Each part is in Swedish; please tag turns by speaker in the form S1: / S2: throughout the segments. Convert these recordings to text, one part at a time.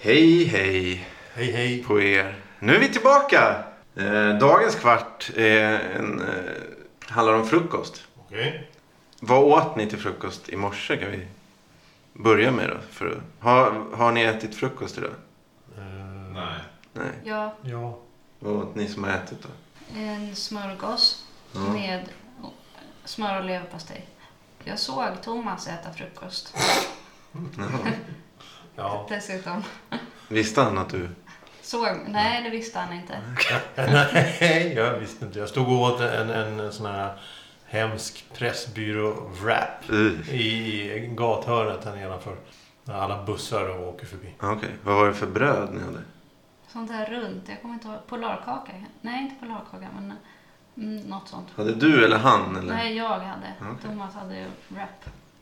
S1: Hej, hej
S2: Hej hej.
S1: på er. Nu är vi tillbaka. Eh, dagens kvart är en, eh, handlar om frukost.
S2: Okej.
S1: Vad åt ni till frukost i morse? Kan vi börja med då? För, att- har, har ni ätit frukost idag?
S2: Eh,
S3: Nej.
S1: Nej.
S4: Ja,
S2: Ja.
S1: Vad åt ni som har ätit då?
S4: en smörgås
S1: Ja.
S4: med smör och leverpastej. Jag såg Thomas äta frukost
S1: Jaha.
S2: Ja.
S4: dessutom.
S1: Visste han att du...
S4: Såg, nej, det visste han inte.
S2: Nej, jag visste inte. Jag stod och åt en, en sån här hemsk pressbyrå-wrap
S1: Uh.
S2: i gathörnet här nedanför. När alla bussar åker förbi.
S1: Okej, vad var det för bröd ni hade?
S4: Sånt där runt. Jag kommer inte ihåg. Polarkaka? Nej, inte polarkaka, men mm, något sånt.
S1: Hade du eller han? Eller?
S4: Nej, jag hade.
S1: Okej.
S4: Thomas hade ju wrap.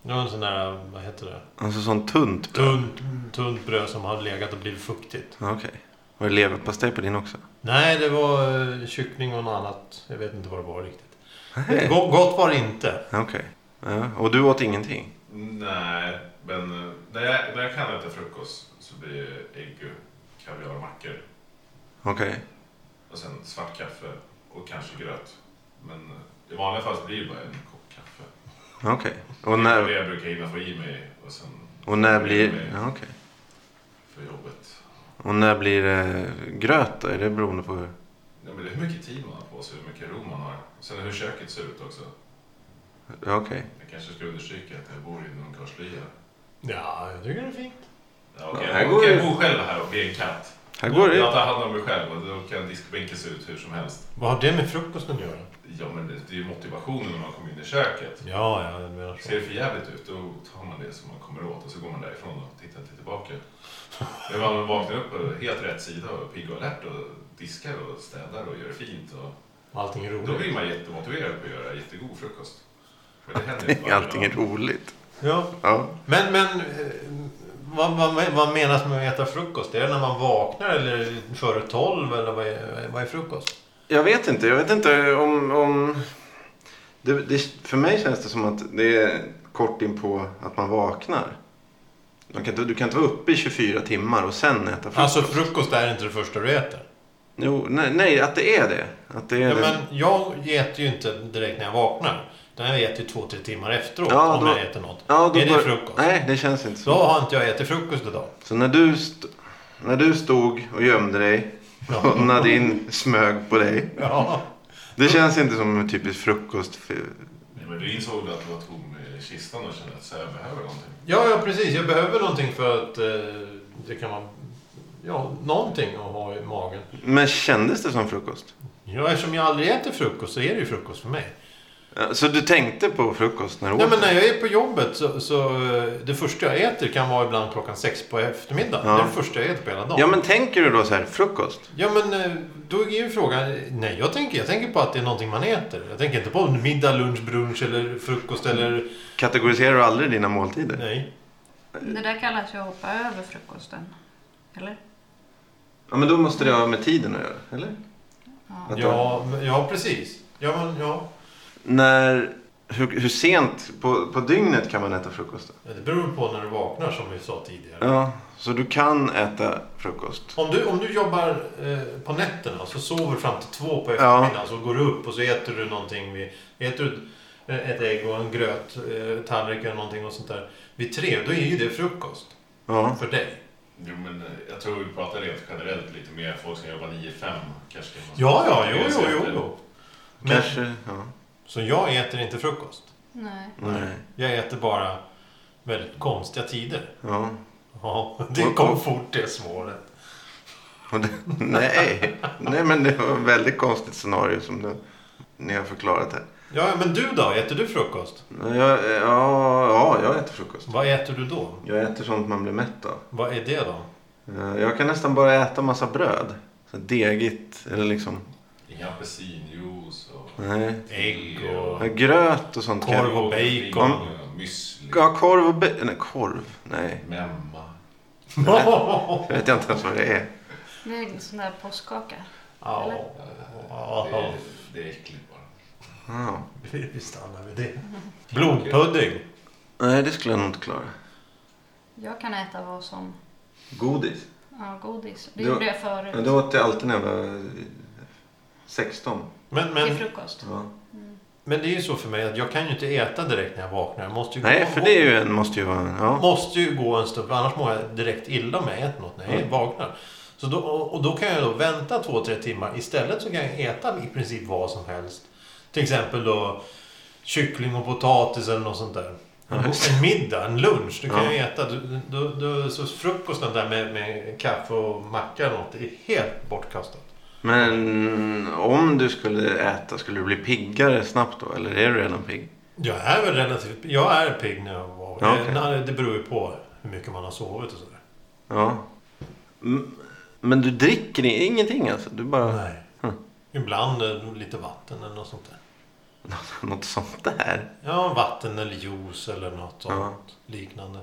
S2: Det var en sån där, vad heter det?
S1: Alltså sånt tunt bröd?
S2: Tunt, tunt bröd som hade legat och blivit fuktigt.
S1: Okej. Var det leverpastej på din också?
S2: Nej, det var eh, kyckling och något annat. Jag vet inte vad det var riktigt.
S1: Nej.
S2: Gott, gott var det inte.
S1: Okej. Ja, och du åt ingenting?
S3: Nej, men eh, när jag, när jag kan äta frukost så blir det ägg och kaviar och mackor.
S1: Okej.
S3: Och sen svart kaffe och kanske gröt. Men eh, i vanliga fall så blir det bara en kopp kaffe.
S1: Okej. Och,
S3: Det är
S1: när,
S3: det jag brukar hinna få i mig och sen
S1: och när blir... Ja, okej.
S3: för jobbet.
S1: Och när blir det gröt då? Är det beroende på hur...
S3: Ja, men det är hur mycket tid man har på sig, hur mycket ro man har. Sen hur köket ser ut också.
S1: Ja, Okej.
S3: Jag kanske ska understryka att jag bor i någon karlslya.
S2: Ja, jag tycker det är fint.
S3: Ja, okej,
S1: Ja, här
S3: jag,
S1: går
S3: går jag
S1: ju-
S3: bor själv här och blir en katt.
S1: Här går
S3: Jag
S1: det...
S3: tar hand om mig själv och då kan diskbänken se ut hur som helst.
S2: Vad har det med frukosten att göra?
S3: Ja, men det, det är ju motivationen när man kommer in i köket.
S2: Ja, ja, jag menar så.
S3: Ser det för jävligt ut, då tar man det som man kommer åt och så går man därifrån och tittar inte tillbaka. Men man vaknar upp på helt rätt sida och är pigg och alert och diskar och städar och gör det fint. Och
S2: Allting är
S3: då
S2: roligt.
S3: blir man jättemotiverad på att göra jättegod frukost. För det händer
S1: Allting,
S3: inte varje
S1: allting är
S3: dag.
S1: roligt.
S2: Ja.
S1: Ja.
S2: Men, men eh, vad, vad, vad menas med att äta frukost? Är det när man vaknar eller före tolv? Eller vad är, vad är frukost?
S1: Jag vet inte. Jag vet inte om... om... Det, det, för mig känns det som att det är kort in på att man vaknar. Man kan, inte- du kan inte vara uppe i 24 timmar och sen äta frukost.
S2: Alltså frukost är inte det första du äter.
S1: Jo, nej, nej, att det är det. Att det är
S2: Ja,
S1: det.
S2: men jag äter ju inte direkt när jag vaknar. Utan jag äter ju två, tre timmar efteråt
S1: Ja,
S2: om
S1: då-
S2: jag äter något.
S1: Ja, då
S2: är det
S1: bör-
S2: frukost?
S1: Nej, det känns inte så.
S2: Då har inte jag ätit frukost idag.
S1: Så när du, st- när du stod och gömde dig
S2: Ja.
S1: och Nadine smög på dig.
S2: ja.
S1: Det känns inte som en typisk frukost. för-
S3: Nej, men du insåg du att du var tom i kistan och kände att så här, jag behöver någonting.
S2: Ja, ja, precis. Jag behöver någonting för att eh, det kan vara... Ja, någonting att ha i magen.
S1: Men kändes det som frukost?
S2: Ja, eftersom jag aldrig äter frukost så är det ju frukost för mig.
S1: Ja, Så du tänkte på frukost när du
S2: Nej,
S1: åt?
S2: men när jag är på jobbet så, så eh, det första jag äter kan vara ibland klockan sex på eftermiddagen.
S1: Ja.
S2: Det är det första jag äter på hela dagen.
S1: Ja, men tänker du då så här, frukost?
S2: Ja, men, eh, då är ju frågan... Nej, jag tänker, jag tänker på att det är någonting man äter. Jag tänker inte på middag, lunch, brunch eller frukost eller...
S1: Mm. Kategoriserar du aldrig dina måltider?
S2: Nej.
S4: Det där kallas ju att hoppa över frukosten. Eller?
S1: Ja, men då måste det ha med tiden att göra, eller?
S4: Ja.
S1: Vänta.
S2: Ja, men- ja, precis. Ja, men, ja.
S1: När, hur, hur sent på, på dygnet kan man äta frukost? Då?
S2: Men Det beror på när du vaknar, som vi sa tidigare.
S1: Ja, så du kan äta frukost?
S2: Om du, om du jobbar eh, på nätterna och så sover fram till två på eftermiddagen så går du upp och så äter du någonting. Vid, äter du ett- ett ägg och en gröt, eh, tallrik eller någonting och sånt där. Vid tre, då är ju det frukost
S1: Ja.
S2: för dig.
S3: Jo, men eh, jag tror vi pratar rent generellt lite mer folk som jobbar 9-5 kanske. kan man-
S2: Ja, ja, jo, jo, jo. jo. Men,
S1: Kanske, ja.
S2: så jag äter inte frukost.
S4: Nej.
S1: Nej.
S2: Jag äter bara väldigt konstiga tider.
S1: Ja.
S2: Ja, det kom fort det svaret.
S1: Och det, nej. nej, men det var ett väldigt konstigt scenario som du, ni har förklarat här.
S2: Ja, men du då? Äter du frukost?
S1: Jag, ja, ja, jag äter frukost.
S2: Vad äter du då?
S1: Jag äter sånt man blir mätt av.
S2: Vad är det då?
S1: Eh, Jag kan nästan bara äta massa bröd. Så degigt, eller liksom...
S3: Inga apelsinjuice och...
S1: Nej.
S2: Ägg
S1: Ja,
S2: och...
S1: Gröt och sånt. kan jag-
S2: Korv och bacon.
S3: Ja, Müsli.
S1: Ja, korv och... Be- nej, korv. Nej.
S3: Memma.
S1: Jag vet inte ens vad det är.
S4: Det är en sån där påskkaka.
S2: Ja,
S3: Det
S2: ja,
S3: är, det är äckligt bara.
S1: Ja.
S2: vi vi stannar vid det. Blodpudding.
S1: Nej, det skulle jag nog inte klara.
S4: Jag kan äta vad som...
S1: Godis?
S4: Ja, godis. Det
S1: Du-
S4: gjorde jag förut.
S1: Men det åt jag alltid när jag var eh, 16.
S2: Men,
S4: Till
S2: men,
S4: frukost.
S1: Ja.
S2: men det är ju så för mig att jag kan ju inte äta direkt när jag vaknar. Jag måste ju
S1: Nej,
S2: gå,
S1: för det är ju en, måste ju vara... Ja.
S2: måste ju gå en stund, annars mår jag direkt illa om jag äter något när jag
S1: Mm.
S2: vaknar. Så då, och och då kan jag då vänta två, tre timmar. Istället så kan jag äta i princip vad som helst. Till exempel då kyckling och potatis eller något sånt där. En, en middag, en lunch, du kan
S1: Ja.
S2: jag äta. Du, du, du, så frukosten där med, med kaffe och macka eller något, det är helt bortkastat.
S1: Men om du skulle äta, skulle du bli piggare snabbt då? Eller är du redan pigg?
S2: Jag är väl relativt... Jag är pigg när jag var...
S1: Ja,
S2: det-
S1: okej.
S2: nej, Det beror ju på hur mycket man har sovit och sådär.
S1: Ja. M- Men du dricker i- ingenting alltså? Du bara...
S2: Nej. Ibland eh, lite vatten eller något sånt där.
S1: Något sånt där?
S2: Ja, vatten eller juice eller något sånt
S1: Ja.
S2: liknande.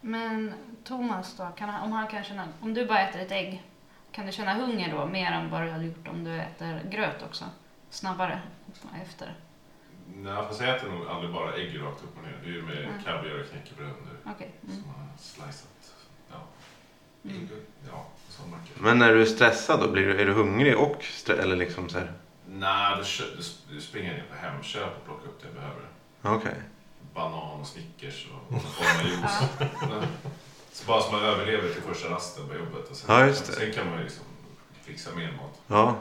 S4: Men Thomas då, kan han, om, han kan känna, om du bara äter ett ägg, kan du känna hunger då mer än vad du hade gjort om du äter gröt också? Snabbare efter.
S3: Nej, fast jag äter nog aldrig bara ägg rakt upp och ner. Det är ju med
S4: Mm.
S3: kaviar och knäckebröd nu
S4: Okej. Mm.
S3: som har slicat. Ja,
S4: Mm.
S3: ägg och- ja, och sån macka.
S1: Men när du är stressad då? Blir du, är du hungrig och stressad? Eller liksom så här...
S3: Nej, då, kö- då sp- då springer jag ner på Hemköp och plockar upp det jag behöver.
S1: Okej.
S3: Banan och Snickers och någon form av juice. Nej. Så bara så man överlever till första rasten på jobbet. Och sen,
S1: Ja, just det.
S3: sen kan man ju liksom fixa mer mat.
S1: Ja.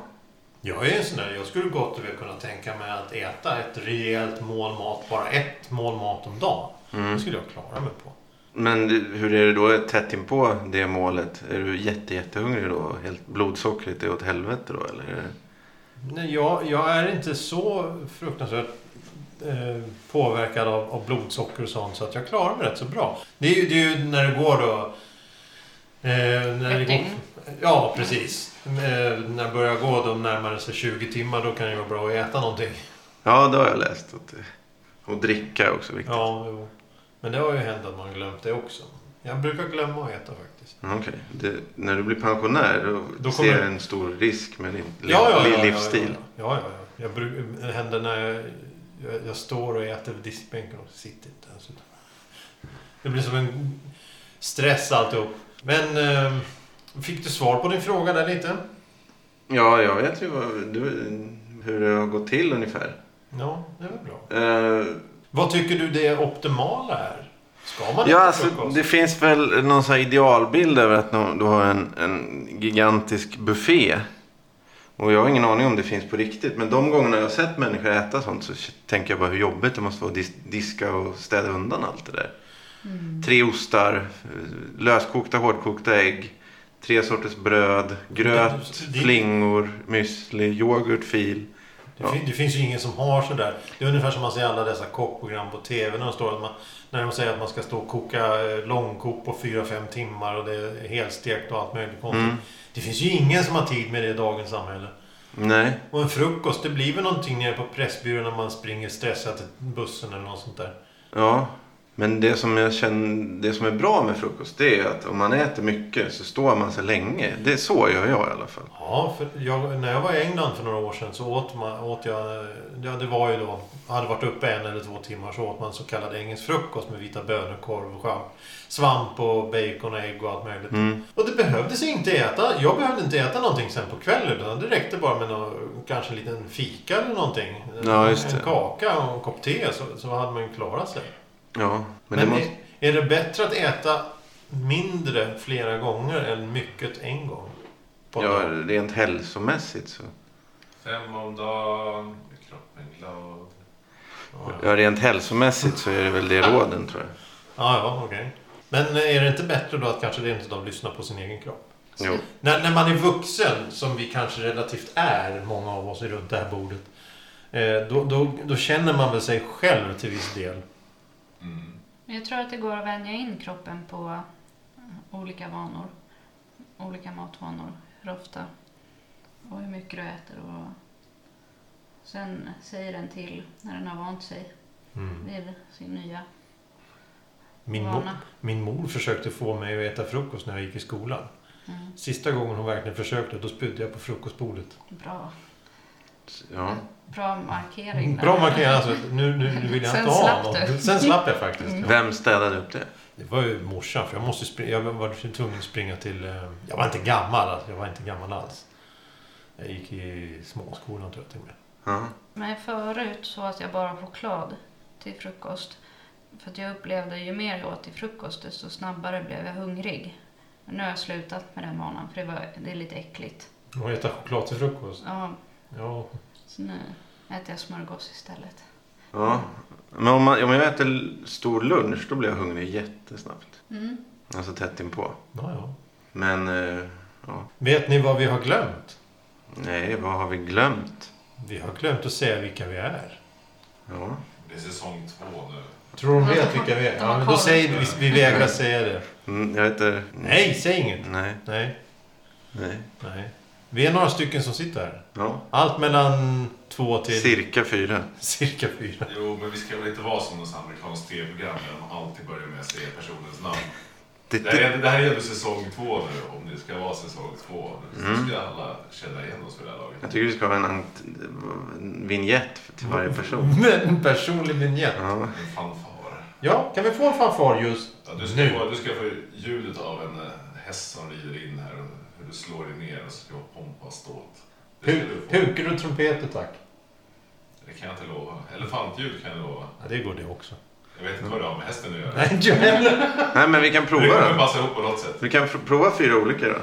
S2: Jag är en sån där, jag skulle gott och väl kunna tänka mig att äta ett rejält mål mat, bara ett mål mat om dagen. Det
S1: Mm.
S2: skulle jag klara mig på.
S1: Men du- hur är det då tätt inpå det målet? Är du jätte, jättehungrig då? Helt blodsockret är åt helvete då? Eller? är det-
S2: Nej, jag, jag är inte så fruktansvärt eh, påverkad av, av blodsocker och sånt så att jag klarar mig rätt så bra. Det är ju, det är ju när det går då... Eh, när det
S4: Ett
S2: går,
S4: dygn.
S2: ja, precis. Eh, när det börjar gå de närmare sig 20 timmar då kan det vara bra att äta någonting.
S1: Ja, det har jag läst. Att, det- och dricka är också viktigt.
S2: Ja, jo. Men det har ju hänt att man glömt det också. Jag brukar glömma att äta faktiskt.
S1: Okej. Det- När du blir pensionär då,
S2: Då
S1: ser
S2: kommer-
S1: jag en stor risk med din li-
S2: Ja, ja, ja,
S1: livsstil.
S2: Ja, ja, ja. ja, ja. Jag bruk, det händer när jag, jag, jag står och äter vid diskbänken och sitter inte ens. upp. Det blir som en stress alltihop. Men eh, fick du svar på din fråga där lite?
S1: Ja, jag vet ju vad, du, hur det har gått till ungefär.
S2: Ja, det var bra.
S1: Eh,
S2: Vad tycker du det optimala är? Ska man
S1: ja,
S2: äta
S1: alltså,
S2: frukost?
S1: det finns väl någon sån här idealbild över att nå- du har en, en gigantisk buffé. Och jag har ingen aning om det finns på riktigt. Men de gångerna jag har sett människor äta sånt så tänker jag bara hur jobbigt det måste vara att dis- diska och städa undan allt det där.
S4: Mm.
S1: Tre ostar, eh, löskokta hårdkokta ägg, tre sorters bröd, gröt,
S2: Det- det-
S1: flingor, müsli, yoghurt, fil.
S2: Det,
S1: Ja.
S2: fin, det finns ju ingen som har sådär. Det är ungefär som man ser i alla dessa kockprogram på TV när de, står att man, när de säger att man ska stå och koka eh, långkok på 4-5 timmar och det är helstekt och allt möjligt konstigt.
S1: Mm.
S2: Det finns ju ingen som har tid med det i dagens samhälle.
S1: Nej.
S2: Och en frukost, det blir väl någonting nere på Pressbyrån när man springer stressad till bussen eller något sånt där.
S1: Ja, men det som jag känner, det som är bra med frukost det är att om man äter mycket så står man sig länge. Det är så gör jag i alla fall.
S2: Ja, för jag, när jag var i England för några år sedan så åt, man, åt jag... eh, Ja, det var ju då... Hade varit uppe en eller två timmar så åt man så kallad engelsk frukost med vita bönor, korv och svamp, svamp och bacon och ägg och allt möjligt.
S1: Mm.
S2: Och det behövdes ju inte äta. Jag behövde inte äta någonting sen på kvällen. Utan det räckte bara med någon, kanske en liten fika eller någonting.
S1: Ja, just
S2: en
S1: det.
S2: kaka och en kopp te så, så hade man ju klarat sig.
S1: Ja, men,
S2: Men,
S1: det måste...
S2: är, är det bättre att äta mindre flera gånger än mycket en gång? På en
S1: Ja,
S2: dag?
S1: rent hälsomässigt så.
S3: Fem om dagen, är kroppen glad.
S2: Ja, ja.
S1: Ja, rent hälsomässigt så är det väl det råden tror jag.
S2: ja, ja okej. Men eh, är det inte bättre då att kanske rent av lyssna på sin egen kropp?
S1: Jo.
S2: När, när man är vuxen, som vi kanske relativt är, många av oss är runt det här bordet. eh, Då, då, då känner man väl sig själv till viss del.
S3: Mm.
S4: Men jag tror att det går att vänja in kroppen på olika vanor. Olika matvanor. Hur ofta och hur mycket du äter. Och sen säger den till när den har vant sig vid sin nya
S2: Mm. Min, mo-
S4: vana.
S2: min mor försökte få mig att äta frukost när jag gick i skolan.
S4: Mm.
S2: Sista gången hon verkligen försökte, då spydde jag på frukostbordet.
S4: Bra,
S1: Ja.
S4: bra markering. där.
S2: Bra markerat. Alltså, nu, nu, nu vill jag
S4: Sen
S2: inte ha
S4: slapp
S2: någon.
S4: du. Mm.
S2: Sen slapp jag faktiskt.
S1: Vem städade upp det?
S2: Det var ju morsan, för jag, måste springa, jag var tvungen att springa till... eh, Jag var inte gammal, alltså, jag var inte gammal alls. Jag gick i småskolan tror jag till och med.
S1: Ja.
S4: Men förut så att jag bara choklad till frukost. För att jag upplevde ju mer jag åt till frukost desto snabbare blev jag hungrig. Men nu har jag slutat med den vanan för det, var, det är lite äckligt.
S2: Och äta choklad till frukost.
S4: Ja,
S2: Ja,
S4: så nu äter jag smörgås istället.
S1: ja. Men om, man, om jag äter stor lunch då blir jag hungrig jättesnabbt.
S4: Mm.
S1: Alltså tätt inpå.
S2: ja, ja.
S1: Men eh, ja.
S2: Vet ni vad vi har glömt?
S1: nej, vad har vi glömt?
S2: Vi har glömt att säga vilka vi är.
S1: Ja.
S3: Det är säsong två nu.
S2: Tror de vet vilka vi är? Ja, men då säger vi, vi vägrar säga det.
S1: Mm, jag heter...
S2: Nej, säg inget!
S1: Nej,
S2: Nej,
S1: nej.
S2: nej. Vi är några stycken som sitter här.
S1: Ja.
S2: Allt mellan två till
S1: Cirka fyra.
S2: cirka fyra.
S3: Jo, men vi ska väl inte vara som något amerikanskt tv-program där de alltid börjar med att säga personens namn.
S1: Det,
S3: Det här,
S1: det,
S3: är, det här är ju säsong två nu, om det ska vara säsong två. Så ska alla känna igen oss för det här laget.
S1: Mm. jag tycker vi ska ha en, ant- en vignett till varje person.
S2: En personlig vignett.
S1: Ja.
S3: En fanfar.
S2: Ja, kan vi få en fanfar just
S3: Ja, du, ska
S2: nu?
S3: få, du ska få ljudet av en eh, häst som rider in här och hur du slår dig ner och så ska du pompa och ståt. Det, ska
S2: Pu-
S3: du få.
S2: Pukor och trumpeter tack.
S3: det kan jag inte lova. Elefantljud kan jag lova.
S2: Ja, det går det också.
S3: Jag vet inte vad det har med hästen att göra.
S2: Nej, inte jag heller.
S1: Nej, men vi kan
S3: Men Det
S1: prova
S3: kommer
S1: då.
S3: passa ihop på något sätt.
S1: Vi kan pr- prova fyra olika då.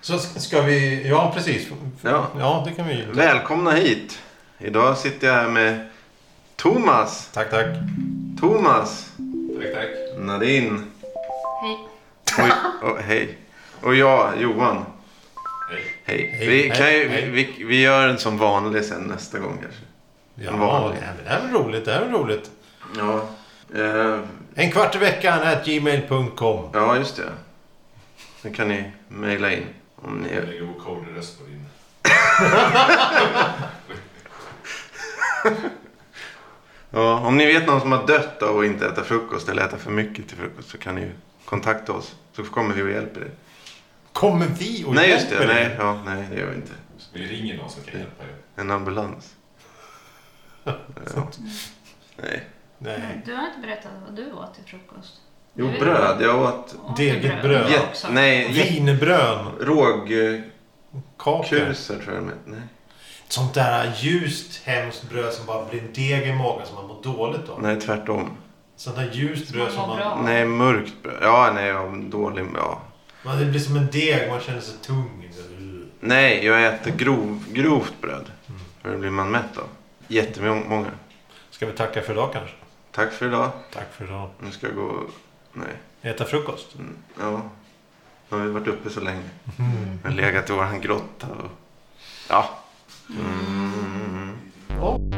S2: Så ska ska vi... Ja, precis.
S1: Ja.
S2: ja det kan vi ju.
S1: Välkomna hit. Idag sitter jag här med Thomas,
S2: Tack, tack.
S1: Thomas,
S3: Tack, tack.
S1: Nadine
S4: Hej.
S1: och, och hej. Och jag, Johan.
S3: Hej.
S1: Hej.
S2: Hej,
S1: Vi, kan ju,
S2: hej,
S1: vi, vi, vi gör en som vanlig sen nästa gång kanske.
S2: Ja,
S1: En vanlig.
S2: nej, men det här är väl roligt. Det här är väl roligt.
S1: Ja. Eh,
S2: En kvart i veckan at gmail.com.
S1: ja, just det. Det kan ni mejla in om ni
S3: Jag
S1: är...
S3: lägger okord röst på din.
S1: Ja, om ni vet någon som har dött av att inte äta frukost eller äta för mycket till frukost så kan ni ju kontakta oss. Så kommer vi och hjälper er.
S2: Kommer vi och
S1: Nej, just
S2: hjälper
S1: det.
S2: er?
S1: Nej, ja, nej, det gör vi inte.
S3: Vi ringer någon som kan hjälpa er.
S1: En ambulans. ja. Nej.
S2: Nej.
S4: Du har inte berättat vad du åt till frukost.
S1: Jo,
S4: Du-
S1: bröd. Jag åt
S4: åt du
S2: Deget bröd.
S4: Du
S1: jätt-
S4: också.
S1: Nej, jätt-
S2: Wienerbrön,
S1: rågkusar
S2: kakor.
S1: tror jag de heter. Nej.
S2: Sånt där ljust, hemskt bröd som bara blir en deg i magen som man mår dåligt av.
S1: nej, tvärtom.
S2: Sånt där ljust
S4: Som
S2: bröd som
S4: man mår bra
S2: man...
S4: av.
S1: Nej, mörkt bröd. Ja, nej, jag dålig... Ja.
S2: man... Det blir som en deg, man känner sig tung.
S1: Nej, jag äter grov, grovt bröd.
S2: Mm.
S1: För det blir man mätt av. Jättemånga.
S2: Ska vi tacka för idag kanske?
S1: Tack för idag.
S2: Tack för idag.
S1: Nu ska jag gå... och- Nej.
S2: Äta frukost.
S1: Mm, Ja. Nu har vi varit uppe så länge. Jag har legat i våran grotta och... Ja. Mm.
S2: Ja.